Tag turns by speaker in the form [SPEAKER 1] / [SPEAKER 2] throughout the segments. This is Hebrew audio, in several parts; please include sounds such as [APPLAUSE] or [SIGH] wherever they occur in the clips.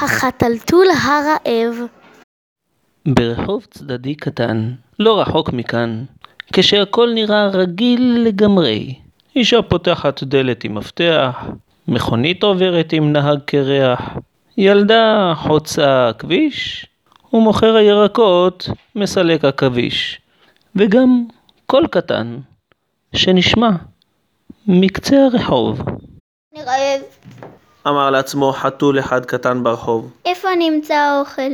[SPEAKER 1] החתלתול הרעב
[SPEAKER 2] ברחוב צדדי קטן, לא רחוק מכאן, כשהכל נראה רגיל לגמרי. אישה פותחת דלת עם מפתח, מכונית עוברת עם נהג קרח, ילדה חוצה כביש, ומוכר הירקות מסלק עכביש. וגם קול קטן, שנשמע מקצה הרחוב.
[SPEAKER 3] אני רעב.
[SPEAKER 2] אמר לעצמו חתול אחד קטן ברחוב.
[SPEAKER 3] איפה נמצא האוכל?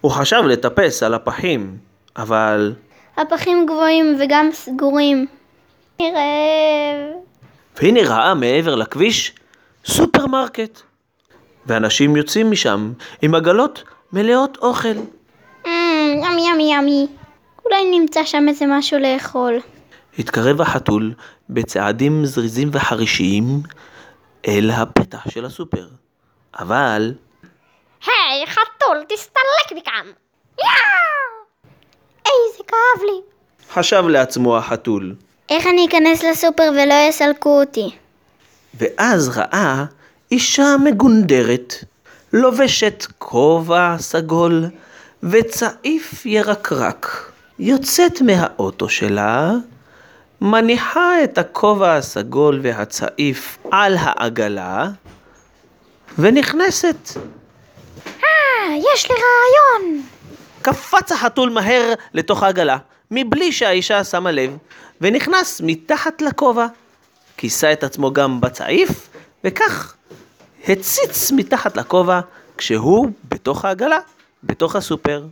[SPEAKER 2] הוא חשב לטפס על הפחים, אבל
[SPEAKER 3] הפחים גבוהים וגם סגורים. אני רעב.
[SPEAKER 2] והנה ראה מעבר לכביש סופרמרקט. ואנשים יוצאים משם עם עגלות מלאות אוכל.
[SPEAKER 3] אמ, ימי ימי ימי. אולי נמצא שם איזה משהו לאכול.
[SPEAKER 2] התקרב החתול בצעדים זריזים וחרישיים אל הפתח של הסופר. אבל
[SPEAKER 3] היי, חתול, תסתלק מכאן! יאו! איזה כאב לי.
[SPEAKER 2] חשב לעצמו החתול,
[SPEAKER 3] איך אני אכנס לסופר ולא יסלקו אותי?
[SPEAKER 2] ואז ראה אישה מגונדרת, לובשת כובע סגול וצעיף ירקרק. יוצאת מהאוטו שלה, מניחה את הכובע הסגול והצעיף על העגלה, ונכנסת.
[SPEAKER 3] אה, יש לי רעיון!
[SPEAKER 2] קפץ החתול מהר לתוך העגלה, מבלי שהאישה שמה לב, ונכנס מתחת לכובע. כיסה את עצמו גם בצעיף, וכך הציץ מתחת לכובע כשהוא בתוך העגלה, בתוך הסופר.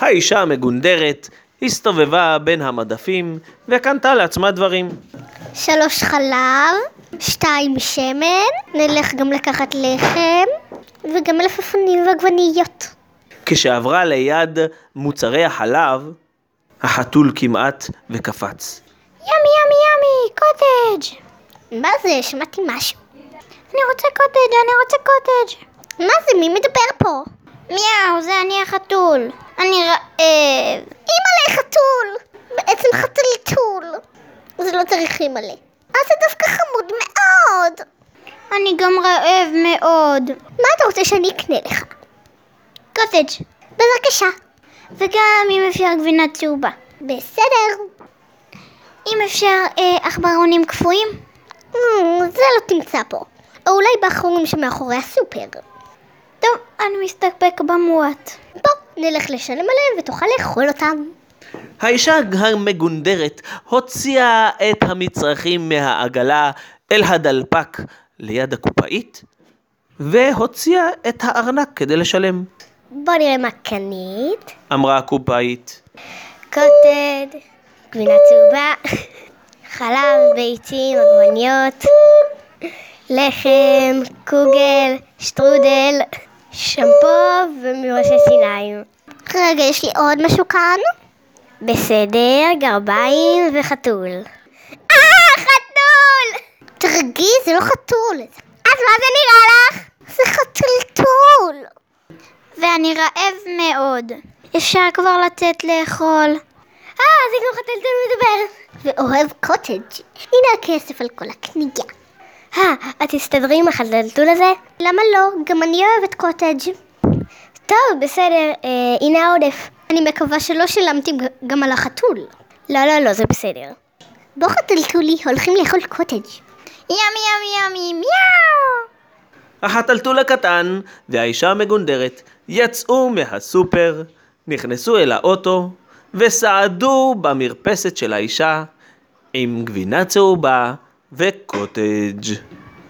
[SPEAKER 2] האישה המגונדרת הסתובבה בין המדפים וקנתה לעצמה דברים.
[SPEAKER 3] שלוש חלב, שתיים שמן, נלך גם לקחת לחם, וגם מלפפונים ועגבניות.
[SPEAKER 2] כשעברה ליד מוצרי החלב, החתול כמעט וקפץ.
[SPEAKER 3] ימי ימי ימי, קוטג'. מה זה? שמעתי משהו. אני רוצה קוטג', אני רוצה קוטג'. מה זה? מי מדבר פה? מיהו, זה אני החתול. אני רעב. אימא'לה, חתול! בעצם חתלתול. זה לא צריך אימא'לה. אז זה דווקא חמוד מאוד. אני גם רעב מאוד. מה אתה רוצה שאני אקנה לך? קוטג'. בבקשה. וגם אם אפשר גבינה צהובה. בסדר. אם אפשר אה, עכברונים קפואים? זה לא תמצא פה. או אולי בחורים שמאחורי הסופר. טוב, אני מסתפק במועט. בוא, נלך לשלם עליהם ותוכל לאכול אותם.
[SPEAKER 2] האישה המגונדרת הוציאה את המצרכים מהעגלה אל הדלפק ליד הקופאית, והוציאה את הארנק כדי לשלם,
[SPEAKER 3] בוא נראה מה כן קנית.
[SPEAKER 2] אמרה הקופאית.
[SPEAKER 3] קוטד, גבינה צהובה, [LAUGHS] חלב, ביצים, עגבניות, לחם, קוגל, שטרודל, שמפו ומרושי שיניים. רגע, יש לי עוד משהו כאן? בסדר, גרביים וחתול. אה, חתול! תרגי, זה לא חתול. אז מה זה נראה לך? זה חתלתול. ואני רעב מאוד. אפשר כבר לתת לאכול. אה, זה כמו חתלתול מדבר. ואוהב קוטג'. הנה הכסף על כל הקנייה. אה, את תסתדרי עם החתלתול הזה? למה לא? גם אני אוהבת קוטג'. טוב, בסדר, אה, הנה העודף. אני מקווה שלא שילמתי ג- גם על החתול. לא, לא, לא, זה בסדר. בוא חתלתולי, הולכים לאכול קוטג'. ימי ימי ימי מיאו!
[SPEAKER 2] החתלתול הקטן והאישה המגונדרת יצאו מהסופר, נכנסו אל האוטו וסעדו במרפסת של האישה עם גבינה צהובה וקוטג'.